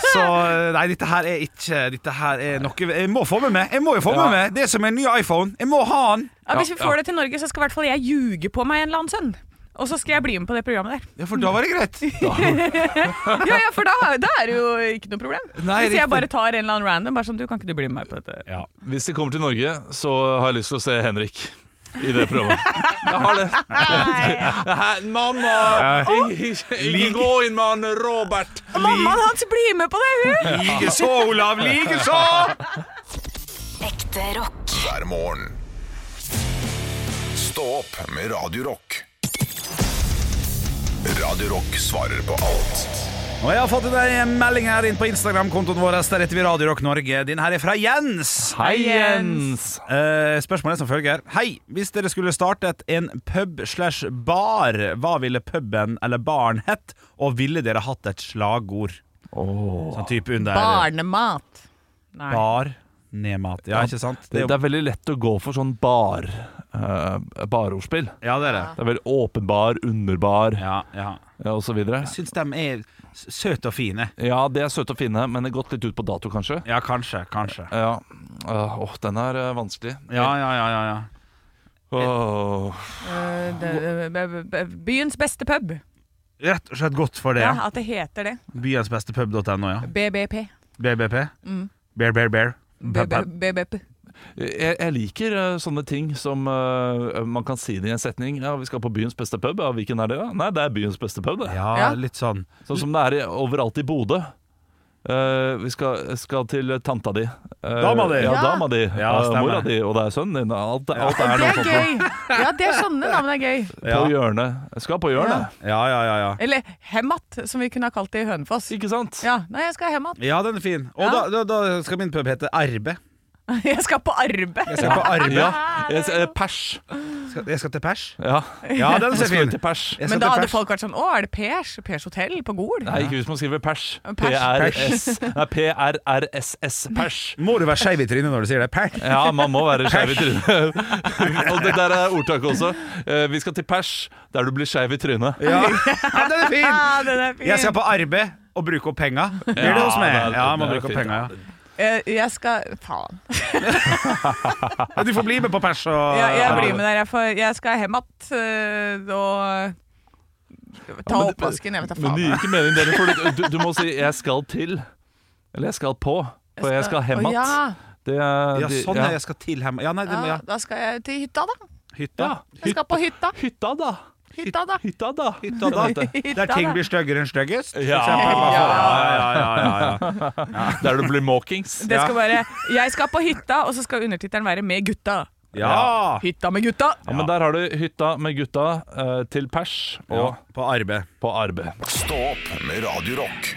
C: Så eh, nei, dette her er ikke Dette her er noe Jeg må få med meg! Jeg må jo få
E: Ja.
C: med meg! Det er som en ny iPhone! Jeg må ha den!
D: Ja, hvis vi får det til Norge, så skal i hvert fall jeg ljuge på meg en eller annen sønn. Og så skal jeg bli med på det
C: [LAUGHS]
D: programmet der.
C: Ja, for [LAUGHS] da var det greit.
D: Ja, ja, For da, da er det jo ikke noe problem.
C: Nei,
D: hvis jeg
C: riktig.
D: bare tar en eller annen random, bare sånn Du kan ikke du bli med meg på dette?
C: Ja.
E: Hvis de kommer til Norge, så har jeg lyst til å se Henrik i det programmet. [LAUGHS] Jeg har det. Mamma! Ikke
C: ikke
E: gå inn med han Robert!
D: Mammaen hans blir med på det, hun!
C: Likeså, Olav, likeså!
F: Ekte rock.
A: hver morgen. Stå opp med Radio Rock. Radio Rock svarer på alt
C: Og jeg har fått inn en melding her inn på Instagram-kontoen vår. Der heter vi Radio Rock Norge. Din her er fra Jens.
E: Hei, Jens!
D: Jens.
C: Eh, spørsmålet er som følger Hei, hvis dere skulle startet en pub slash bar Hva ville puben eller baren hett? Og ville dere hatt et slagord? Sånn type under
D: Barnemat. Nei.
C: Bar Nemat, ja, ikke sant?
E: Det,
C: Det,
E: det er veldig lett å gå for sånn bar eh, barordspill.
C: ja, det er det
E: Det er veldig åpenbar, underbar,
C: ja, ja.
E: ja, og så videre.
C: Syns de er s- søte og fine.
E: Ja, det er søte og fine, men det er gått litt ut på dato, kanskje.
C: Ja, kanskje. Kanskje.
E: Ja. Åh, åh, den er eh, vanskelig.
C: Ja, ja, ja. ja, ja.
E: Åh.
D: Eh, det- b- b- Byens beste pub.
C: Rett og slett godt for det.
D: Ja, At det heter det.
C: Byensbestepub.no, ja.
D: BBP.
C: BBP.
D: Mm.
C: Bear, bear, bear. Pub, pub.
D: BBP.
E: Jeg, jeg liker eh, sånne ting som eh, man kan si det i en setning. Ja, vi skal på byens beste pub. Ja, hvilken er det? da? Nei, det er byens beste pub, det.
C: Ja,
D: Ja.
C: litt sånn.
E: Sånn som det er i- overalt i Bodø. Eh, vi skal, skal til tanta di. Eh,
C: Dama di.
E: Ja,
D: Ja.
E: dama di.
C: Ja,
E: Eh,
C: stemmer.
E: mora di, og det er sønnen din. Alt, alt er
D: Det
E: noe
D: er
E: sånt
D: gøy! Ja, det er sånne navn er gøy.
E: på hjørnet. Jeg skal på hjørnet,
C: Ja, ja, ja. Ja,
D: Eller Hemat, som vi kunne ha kalt det i Hønefoss.
E: ikke sant?
D: Ja, nei, jeg skal ha Hemat. [LAUGHS]
C: ja den er fin. Og
D: Ja.
C: da, da, da skal min pub hete Arbe.
D: Jeg skal på arbeid.
C: Jeg skal på Arbe.
E: Ja, jeg, eh, pers.
C: Skal- Jeg skal til pers.
E: Ja,
C: Ja, den
D: [LAUGHS]
E: jeg
C: ser
E: skal
C: fin.
E: til pers.
C: Jeg skal
D: Men da
C: til
D: hadde
C: pers.
D: folk vært sånn Å, er det Pers? Pers hotell på Gol?
E: Nei, ikke hvis man skriver pers.
D: Pers.
E: PRS. Nei, PRRSS. Pers.
C: Må du være skeiv i trynet når du sier det? Pers.
E: Ja, man må være skeiv i
C: [LAUGHS]
E: trynet. Og det der er ordtaket også. Eh, Vi skal til pers, der du blir skeiv i trynet.
D: [LAUGHS]
C: Ja. ja, den er fin!
D: Ja, den er fin.
C: Jeg skal på arbeid og bruke opp penga. Blir det hos meg?
E: Ja, det er-
C: Ja, må
E: det er
C: bruke opp
E: fint.
C: penga, ja.
D: Eh, jeg skal Faen.
C: ja. Du får bli med på pers og
D: Ja, jeg blir med der. Jeg, får, jeg skal hjem igjen og ta
E: men-
D: oppvasken. Jeg vet da
E: Men det
D: faen.
E: gir ikke mening, dere. For du, du må si 'jeg skal til', eller 'jeg skal på'. For jeg skal hjem
D: Å,
E: att.
D: Ja,
E: Det er-
C: Ja,
E: de-
C: sånn er jeg skal til hjem. Ja, nei, det må
D: ja,
C: ja.
D: da skal jeg til hytta, da.
C: Hytta.
E: Ja,
D: Jeg skal på hytta.
E: hytta, da.
D: Hytta, da.
E: Hytta, da.
C: Hytta da.
E: Sånn heter det.
D: Hytta,
C: Der ting
D: da.
C: blir styggere enn styggest. for
E: Ja.
C: eksempel. ja, ja, ja, ja, ja.
E: [LAUGHS] [LAUGHS] Der du blir måkings.
D: Det skal være 'Jeg skal på hytta', og så skal undertittelen være 'Med gutta'.
C: Ja,
D: Hytta med gutta.
E: Ja, men der har du hytta med gutta eh, til pers og
C: og på arbeid.
E: på arbeid.
A: Stå opp med Radio Rock.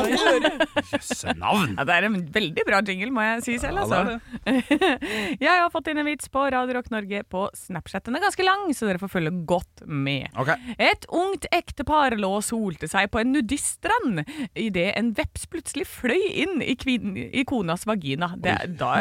C: Jøsse navn!
D: Ja, det er en veldig bra jingle, må jeg si
E: Ja, det
D: selv.
E: er
D: Altså. [LAUGHS] jeg har fått inn en vits på Radio Rock Norge på Snapchat. Den er ganske lang, så dere får følge godt med.
C: Ok.
D: Et ungt ektepar lå og solte seg på en nudiststrand idet en veps plutselig fløy inn i, kvin i konas vagina. Det, er- da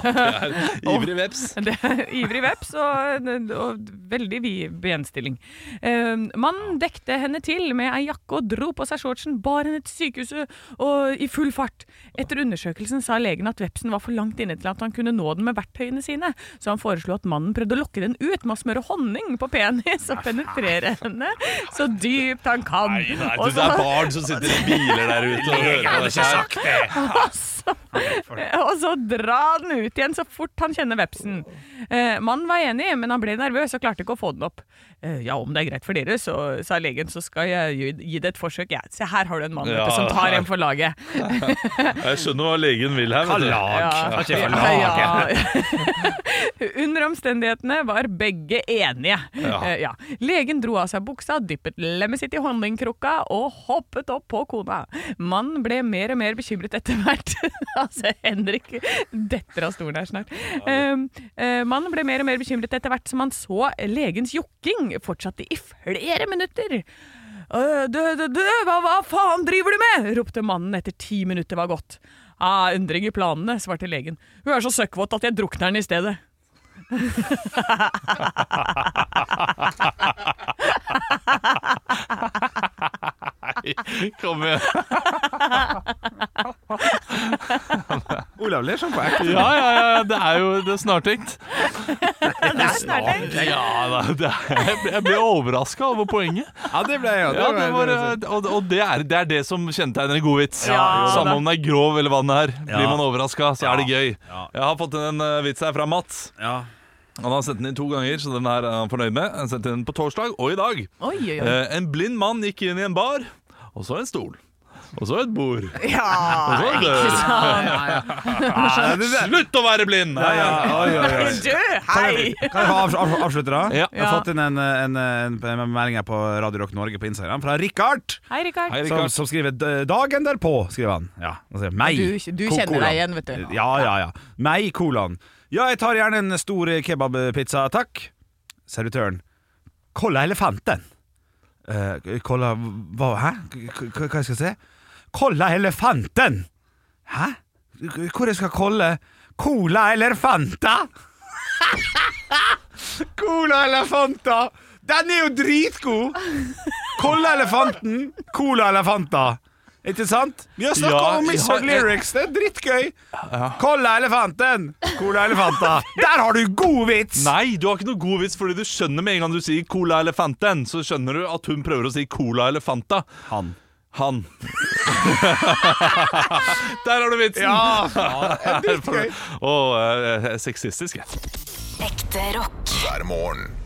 E: [LAUGHS]
D: er
E: Ivrig veps.
D: [LAUGHS] det er ivrig veps og, og veldig vid benstilling. Eh, mannen dekte henne til med ei jakke og dro på seg shortsen, bar henne til sykehuset og i full fart. Etter undersøkelsen sa legen at vepsen var for langt inne til at han kunne nå den med verktøyene sine, så han foreslo at mannen prøvde å lokke den ut med å smøre honning på penis og penetrere henne så dypt han kan. Og så-
E: barn som sitter i biler der
D: [LAUGHS]
E: ute og hører på dette her.
D: og så, Altså. og så dra den ut igjen så fort han kjenner vepsen. Eh, mannen var enig, men han ble nervøs og klarte ikke å få den opp. Eh, ja, om det er greit for dere, så, sa legen, så skal jeg gi, gi det et forsøk. Ja, se, her har du en mann vet du,
E: Ja.
D: som tar en for laget.
E: Jeg skjønner hva legen vil her. vet du.
D: Ja.
C: Kanskje for
D: Ja. [LAUGHS] Under omstendighetene var begge enige. Eh, ja. Legen dro av seg buksa, dyppet lemmet sitt i honningkrukka og hoppet opp på kona. Mannen ble mer og mer bekymret etter hvert. [LAUGHS] altså, Henrik detter av stolen her snart. Eh, eh, mannen ble mer og mer bekymret etter hvert som han så legens jokking fortsatte i flere minutter. «Øh, Du, du, du, hva, hva faen driver du med? ropte mannen etter ti minutter var gått. «Ah, endring i planene, svarte legen. Hun er så søkkvåt at jeg drukner den i stedet.
E: Kom igjen.
C: Olav ler sånn på ekte.
E: Ja, ja, ja, det er jo det er snartenkt.
D: Det er snart
E: Ja, da, det er, jeg ble- jeg ble overraska over poenget.
C: Ja, det ble jeg.
E: Ja, det var, og og det, er, det er det som kjennetegner en god vits.
D: Ja, jo da.
E: Samme om den er grov eller hva den er. Blir
C: Ja.
E: man overraska, så er det gøy.
C: Ja.
E: Jeg har fått en eh, vits her fra Mats.
C: ja.
E: Han har sendt den inn to ganger, så den her er han fornøyd med. Han sendte den på torsdag og i dag.
D: Oi, oi, oi.
E: Eh, en blind mann gikk inn i en bar, og så en stol. Og så et bord.
D: Ja, [LAUGHS]
E: Og så en dør.
C: Ja, det- det-
E: Slutt å være blind!
C: ja, ja, oi, oi, oi.
D: du, hei!
C: Kan jeg få avs- avs- avslutte, da?
E: Ja.
C: Jeg har fått inn en, en, en, en melding her på Radio Rock Norge på Instagram fra Rikard.
D: Hei, Rikard.
E: Hei,
C: Som,
E: Rikard.
C: som skriver "D- 'Dagen derpå', skriver han. Ja, altså, meg.
D: Du- du
C: ko-
D: kjenner deg
C: kolon.
D: igjen, vet du.
C: Ja, ja, ja. Meg, kolon. Ja, jeg tar gjerne en stor kebabpizza, takk. Servitøren. Kolla elefanten. Eh, kolla hva Hæ? K- k- Hva skal jeg si? Kolla elefanten! Hæ? Hvor jeg skal kolle Cola eller Fanta? [LAUGHS] Cola eller Fanta? Den er jo dritgod! Kolla elefanten, Cola eller Fanta. Ikke sant? Vi har snakka
E: Ja,
C: om Mizard
E: ja, jeg-
C: Lyrics, det er drittgøy. Cola elefanten, Cola elefanta. Der har du god vits!
E: Nei, du har ikke noe god vits, fordi du skjønner med en gang du sier Cola Elefanten, så skjønner du at hun prøver å si Cola Elefanta.
C: Han.
E: Han. [LAUGHS] Der har du vitsen! [LAUGHS]
C: Ja, faen, det er dritgøy.
E: Og eh, sexistisk, jeg.
F: Ekte rock.
A: hver morgen.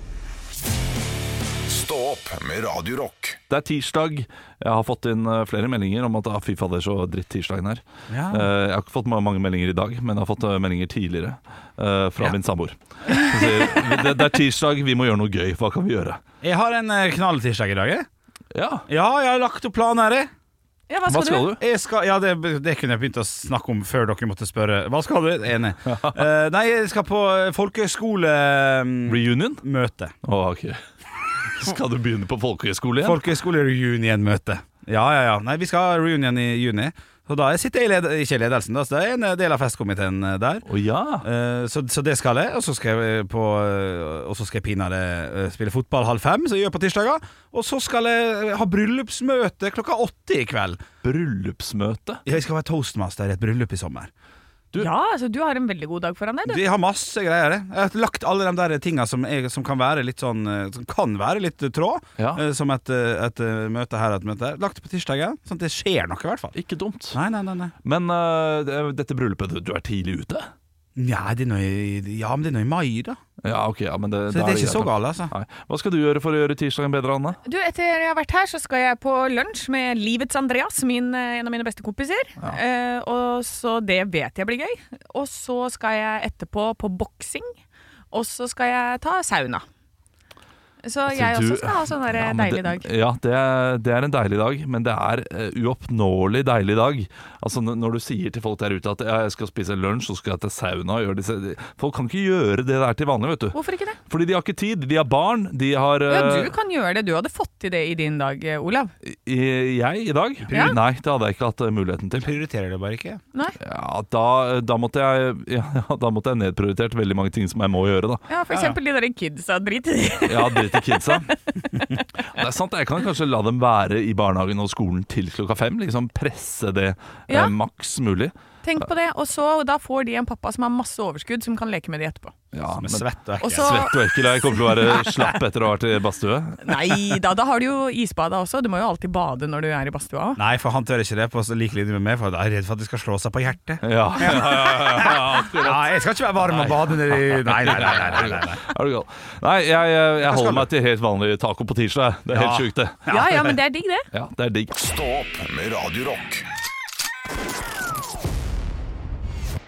A: Stå opp med Radio Rock.
E: Det er tirsdag. Jeg har fått inn eh, flere meldinger om at ah, fy fader, så dritt tirsdagen er.
C: Ja.
E: Eh, Jeg har ikke fått ma- mange meldinger i dag, men jeg har fått eh, meldinger tidligere eh, fra min samboer. Hun sier det, det er tirsdag, vi må gjøre noe gøy. Hva kan vi gjøre?
C: Jeg har en eh, knalltirsdag i dag. jeg.
E: Ja,
C: Ja, jeg har lagt opp planen her. jeg.
D: Ja, hva skal,
E: hva skal du?
C: Jeg skal, ja, det, det kunne jeg begynt å snakke om før dere måtte spørre. Hva skal du? Enig. Eh, mm, nei, jeg skal på folkehøyskolemøte.
E: Reunion? Å, ok. Skal du begynne på folkehøyskole igjen?
C: Folkehøyskolereunion-møte. Ja, ja, ja. Nei, vi skal ha reunion i juni. Så da sitter jeg i led ikke i ledelsen, da, så det er en del av festkomiteen eh, der.
E: Å ja.
C: Eh, så, så det skal jeg, og så skal jeg, på, eh, og så skal jeg pinadø eh, spille fotball halv fem, som jeg gjør på tirsdager. Og så skal jeg ha bryllupsmøte klokka åtte i kveld.
E: Bryllupsmøte.
C: Jeg skal være toastmaster i et bryllup i sommer.
D: Ja, altså, du har en veldig god dag foran deg, du.
C: Vi har masse greier. jeg. Jeg har lagt alle de der tinga som, er- som kan være litt sånn eh, Som kan være litt eh, tråd,
E: Ja.
C: eh, som et, eh, et eh, møte her og et møte der. Lagt det på tirsdagen, sånn at det skjer noe, i hvert fall.
E: Ikke dumt.
C: Nei, nei, nei. nei.
E: Men eh, det- dette bryllupet, du- du er tidlig ute?
C: Nei, det er noe i, ja, men det er noe i mai, da.
E: Ja, ok. Ja, men det,
C: Så
E: da
C: det er ikke
E: greit.
C: så galt, altså.
E: Nei. Hva skal du gjøre for å gjøre tirsdagen bedre, Anne?
D: Du, Etter jeg har vært her, så skal jeg på lunsj med Livets Andreas, min, eh, en av mine beste kompiser. Eh, og så det vet jeg blir gøy. Og så skal jeg etterpå på boksing. Og så skal jeg ta sauna. Så jeg
E: Altså, du-
D: også skal ha sånn der
E: Ja, men
D: deilig
E: det-
D: dag.
E: Ja, det er, det er en deilig dag, men det er eh, uoppnåelig deilig dag. Altså n- Når du sier til folk der ute at ja, jeg skal spise lunsj, så skal jeg til sauna og gjøre disse Folk kan ikke gjøre det der til vanlig, vet du.
D: Hvorfor ikke det?
E: Fordi de har ikke tid. De har barn. De har
D: Ja,
E: eh,
D: du kan gjøre det. Du hadde fått til det i din dag, eh, Olav.
E: i- Jeg i dag?
D: Ja.
E: Nei, det hadde jeg ikke hatt eh, muligheten til.
C: Prioriterer det bare ikke.
D: Nei?
E: Ja, da, eh, da, måtte jeg, [LAUGHS] ja, da måtte jeg nedprioritert veldig mange ting som jeg må gjøre, da.
D: Ja, for eksempel de der kidsa. Drit i det. [LAUGHS]
E: Ja, drit i kidsa. Det er sant, jeg kan kanskje la dem være i barnehagen og skolen til klokka fem. Liksom presse det
D: Ja.
E: eh, maks mulig.
D: Tenk på det. Og så da får de en pappa som har masse overskudd, som kan leke med de etterpå.
E: Ja, men
C: Med
E: svett
C: svett og
D: Og
C: ekkelt.
D: så
E: og ekkel. Jeg kommer til å være slapp etter å ha vært i badstue.
D: Nei da, da har du jo isbada også. Du må jo alltid bade når du er i badstua. også.
C: Nei, for han tør ikke det på så lik linje med meg, for jeg er redd for at de skal slå seg på hjertet.
E: Ja, [LAUGHS] ja, ja, ja, ja, akkurat.
C: Ja, jeg skal ikke være varm og bade nedi Nei, nei, nei. nei, nei, nei.
E: Er du gal? Nei, jeg, jeg, jeg
C: skal
E: holder
C: du?
E: meg til helt vanlig taco på tirsdag. Det er
C: Ja.
E: helt sjukt, det.
D: Ja ja, men det er digg, det.
E: Ja, det er digg.
A: Stå opp med Radio Rock.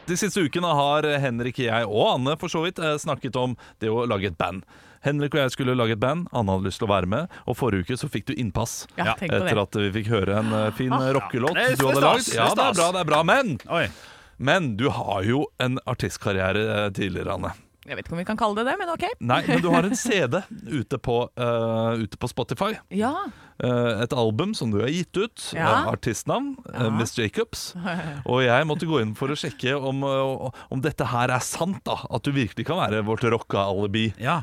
E: De siste ukene har Henrik, jeg og Anne for så vidt eh, snakket om det å lage et band. Henrik og jeg skulle lage et band, Anne hadde lyst til å være med, og forrige uke så fikk du innpass.
D: Ja, tenk på
E: Etter
D: det. Ah.
E: at vi fikk høre en eh, fin eh, rockelåt
C: Det er-
E: du
C: det
E: hadde
C: er
E: lagd.
C: stas,
E: Ja,
C: det
E: det
C: er
E: er bra,
C: stas.
E: det er bra. Men,
C: Oi.
E: men du har jo en artistkarriere eh, tidligere, Anne.
D: Jeg vet ikke om vi kan kalle det det, men ok.
E: Nei, men du har en CD ute på, eh, ute på Spotify.
D: Ja. [LAUGHS]
E: Eh, et album som du har gitt ut.
D: Ja.
E: eh, artistnavn. eh,
D: Ja.
E: Miss Jacobs. Og jeg måtte gå inn for å sjekke om, eh, om dette her er sant, da. At du virkelig kan være vårt rocka alibi.
C: Ja.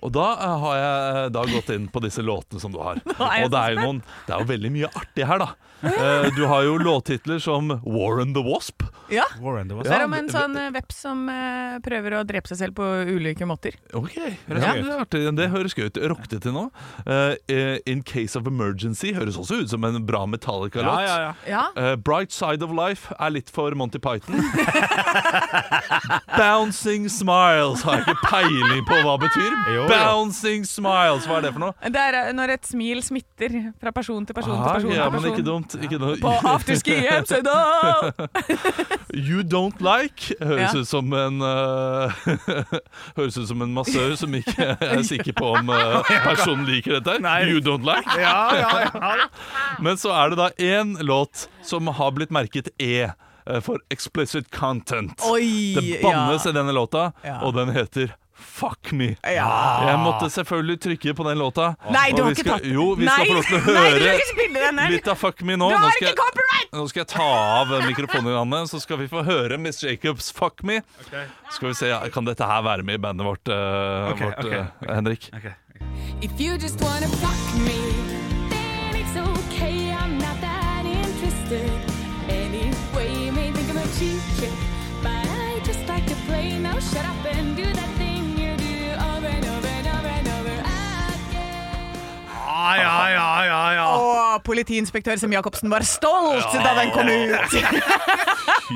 E: Og da eh, har jeg da gått inn på disse låtene som du har.
D: er jeg
E: Og det
D: så
E: er jo noen Det er jo veldig mye artig her, da. Eh, Du har jo låttitler som Warren the Wasp.
D: ja.
C: Warren, det var
D: Det
E: Ja,
D: er om en
E: det-
D: sånn eh, veps som eh, prøver å drepe seg selv på ulike måter.
E: Ok, ja, det
C: Ja.
E: er artig. Det høres gøy ut. Rock det til nå. Eh, eh, In Case of Emergency høres også ut som en bra
C: Ja,
E: Metallica-låt.
C: ja, ja.
D: Ja.
E: Eh, Bright Side of Life er litt for Monty Python. Bouncing Smiles har jeg ikke peiling på hva betyr.
C: Jo, jo.
E: Bouncing Smiles, hva er det for noe?
D: Det er eh, når et smil smitter fra person til person
E: Ah,
D: til person.
E: ja, men
D: til
E: ikke
D: person.
E: dumt. Ikke dumt.
D: På afterski i Hemsedal!
E: [LAUGHS] You Don't Like høres
D: Ja.
E: ut som en eh, [LAUGHS] Høres ut som en massør som ikke
D: [LAUGHS]
E: er sikker på om eh, personen liker dette. her. You Don't Like.
C: Ja, ja, ja.
E: Men så er det da én låt som har blitt merket E. eh, For explicit content.
D: Oi!
E: Det bannes
D: ja.
E: i denne låta,
D: Ja.
E: og den heter Fuck me.
D: Ja.
E: Jeg måtte selvfølgelig trykke på den låta.
D: Nei, du
E: Og
D: har
E: vi
D: ikke
E: skal,
D: tatt
E: Jo, vi
D: Nei,
E: skal få lov til å
D: [LAUGHS] Nei, du kan
E: høre
D: ikke spille den her!
E: litt av Fuck me nå.
D: Du
E: Nå
D: har
E: skal
D: ikke
E: jeg-
D: copyright!
E: nå skal jeg ta av mikrofonen, Janne, så skal vi få høre Miss Jacobs 'Fuck Me'. Skal vi se, ja, Kan dette her være med i bandet vårt, eh,
C: Ok,
E: vårt
C: ok,
E: eh,
C: ok.
D: [LAUGHS]
E: Henrik?
C: Ok.
H: If you just wanna fuck me, then it's okay, I'm not that interested. Anyway, you may think I'm a cheap trick, but I just like to play. Now shut up and do that thing you do over and over and over and over Ah. again.
B: Ja, ja, ja, ja, ja.
E: Ah.
D: Og politiinspektør Sem Jacobsen var stolt da den kom ut!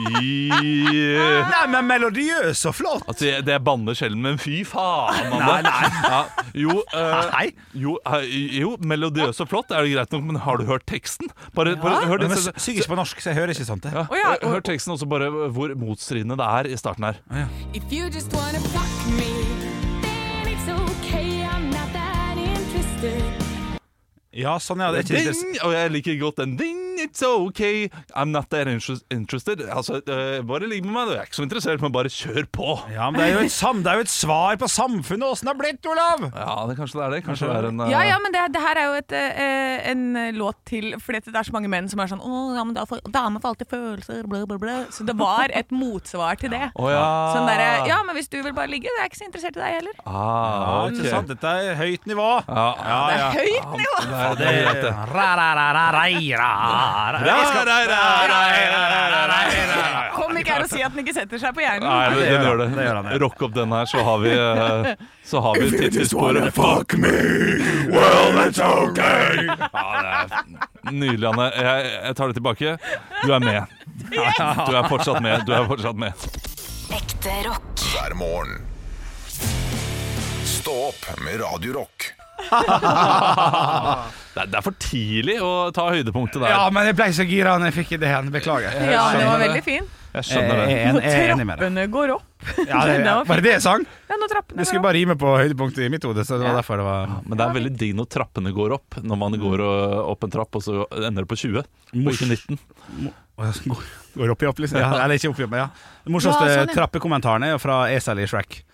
E: Fy
C: Nei, men melodiøs og flott!
E: Altså, jeg, det jeg banner sjelden, men fy faen, Anne. Ja, jo, eh,
C: Nei.
E: jo, eh, jo, melodiøs og flott er det greit nok, men har du hørt teksten? Bare, bare hør
C: Men
E: det.
C: jeg synger ikke på norsk, så jeg hører ikke sånt. jeg.
E: Ja,
D: Å ja,
E: hør- Hør teksten også, bare hvor motstridende det er i starten her.
H: If you just wanna fuck me, then it's okay, I'm not that interested.
C: Ja, sånn, ja. Det er ikke
E: Ding!
C: litt-
E: Og jeg liker godt den Ding, it's okay, I'm not that interest- interested Altså, eh, bare ligg med meg, du. jeg er ikke så interessert, men bare kjør på
C: ja, men det er, jo et sam, det er jo et svar på samfunnet, åssen det har blitt, Olav!
E: Ja, det, kanskje det er det Kanskje det er en eh,
D: Ja,
C: Ah.
D: ja, men det, det her er jo et, eh, en låt til Fordi at det er så mange menn som er sånn Å, ja, men da får, damer får alltid følelser, bla, bla, bla. Så det var et motsvar til det.
E: Å, ja.
D: Sånn
C: Ah.
D: derre Ja, men hvis du vil bare ligge, det er ikke så interessert i deg heller.
E: ah,
C: Ja,
E: ok.
C: ikke sant? Dette er høyt nivå.
E: Ja, ja,
C: Ah.
D: Det er høyt nivå!
E: Nei, det er greit det
C: Ra-ra-ra-ra-ra-ra.
D: Kom ikke her og si at den ikke setter seg på
E: Nei,
D: hjernen.
E: den,
C: det gjør
E: den gjør
C: han, det gjør han,
E: det
C: ja.
E: Rock opp den her, så har vi eh, Så har vi tidssporet
A: fuck me, well that's okay.
E: Ja, det er nydelig, Anne jeg, jeg tar det tilbake Du er med Du er fortsatt med, du er fortsatt med
F: Ekte rock.
A: Hver morgen. Stå opp med Radio Rock.
E: Det er, det er for tidlig å ta høydepunktet der.
C: Ja, men jeg ble så gira når jeg fikk ideen. Beklager.
D: Ja,
E: skjønner
D: den var
E: det.
D: veldig fin.
E: Jeg
C: Jeg
E: skjønner det.
C: er en-
D: Når
C: jeg er enig med deg.
D: trappene går opp.
C: Ja,
D: [LAUGHS]
C: det,
D: Den var
C: var det det jeg sang?
D: Ja, når trappene
C: Jeg
D: går
C: skulle
D: opp.
C: bare rime på høydepunktet i mitt hode. Så det var derfor det var
E: Men det er veldig digg når trappene går opp. Når man går ø, opp en trapp, og så ender det på 20, og ikke 19.
C: Går- Går opp i opp, liksom. Ja, eller ikke opp i opp, men ja. Den morsomste
D: Ja, sånn, ja.
C: trappekommentaren er jo fra Esel i Shrek.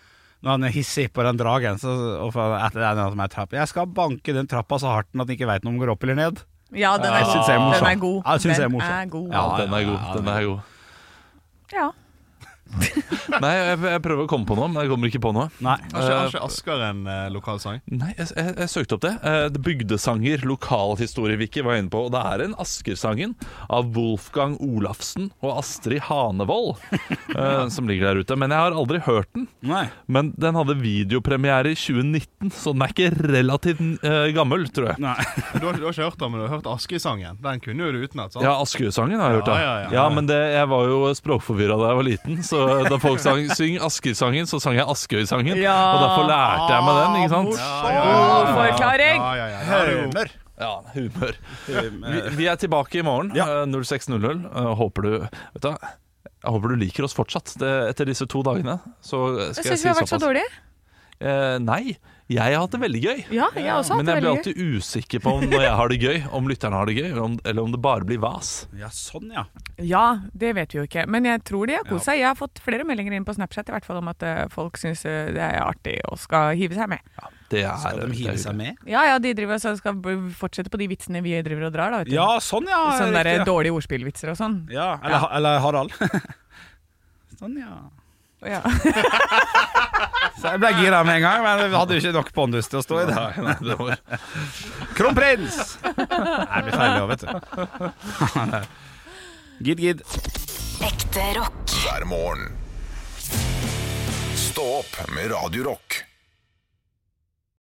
C: Når han er hissig på den dragen, så, og for, etter den at han er trapp. Jeg skal banke den trappa så hardt at den ikke veit om den går opp eller ned.
D: Ja, den er,
C: Jeg synes jeg er morsom.
D: den er god.
C: Ja, jeg synes jeg er
D: den
C: morsom.
D: er
E: Ja,
D: god. Ja.
C: Ja,
E: den er
C: ja,
E: god.
C: ja,
E: Den er god.
D: ja.
E: Nei, jeg, jeg prøver å komme på noe, men jeg kommer ikke på noe.
C: Nei.
B: Har ikke, har ikke Asker en eh, lokalsang?
E: Nei, jeg, jeg, jeg søkte opp det. Eh, det Bygdesanger, lokalhistorieviki var jeg inne på. Og det er en Askersangen av Wolfgang Olafsen og Astrid
B: [LAUGHS]
E: Hanevold eh, som ligger der ute. Men jeg har aldri hørt den.
C: Nei.
E: Men den hadde videopremiere i 2019, så den er ikke relativt eh, gammel, tror jeg.
C: Nei.
B: Du har, du har ikke hørt den, men du har hørt Asker-sangen. Den kunne jo du utenat. sant?
E: Ja, Askøysangen har jeg hørt. da.
B: Ja, ja, ja.
E: men det, jeg var jo språkforvirra da jeg var liten. Så da folk sang 'Syng Askøysangen', så sang jeg Askøysangen.
D: Ja.
E: Og derfor lærte jeg meg den, ikke
B: Ah,
E: sant?
D: God forklaring.
B: Ja, ja, ja. ja, det er jo-
C: Humør.
E: Ja, humør. Vi, vi er tilbake i morgen, eh, 06.00. Eh, Håper du Vet du hva? jeg håper du liker oss fortsatt det, etter disse to dagene. Så skal
D: Jeg
E: jeg
D: syns
E: si
D: vi har vært så
E: såpass.
D: dårlige.
E: Eh, nei, jeg har hatt det veldig gøy.
D: Ja, jeg har også hatt
E: Men
D: det
E: jeg blir
D: veldig gøy.
E: alltid usikker på om når jeg har det gøy, om lytterne har det gøy, eller om, eller om det bare blir vas.
C: Ja, sånn, ja.
D: Ja, det vet vi jo ikke. Men jeg tror de har kost seg. Jeg har fått flere meldinger inn på Snapchat i hvert fall om at eh, folk syns eh, det er artig og skal hive seg med.
E: Det er,
C: Skal de
E: det er
C: hive
E: hyggelig.
C: seg med?
D: Ja ja, de driver og så skal b- fortsette på de vitsene vi driver og drar, da. Vet du.
C: Ja, sånn, ja.
D: Sånne
C: riktig,
D: der
C: ja.
D: dårlige ordspillvitser og sånn.
C: ja. Eller, eller Harald. [LAUGHS] sånn, ja.
D: Ja.
C: Så jeg ble gira med en gang, men jeg hadde jo ikke nok pondus til å stå i det.
E: Nei, nei, det var
C: Kronprins! Nei, det blir feil, ja, vet du. [LAUGHS] Gidd, gidd.
F: Ekte rock.
A: Hver morgen. Stå opp med Radio Rock.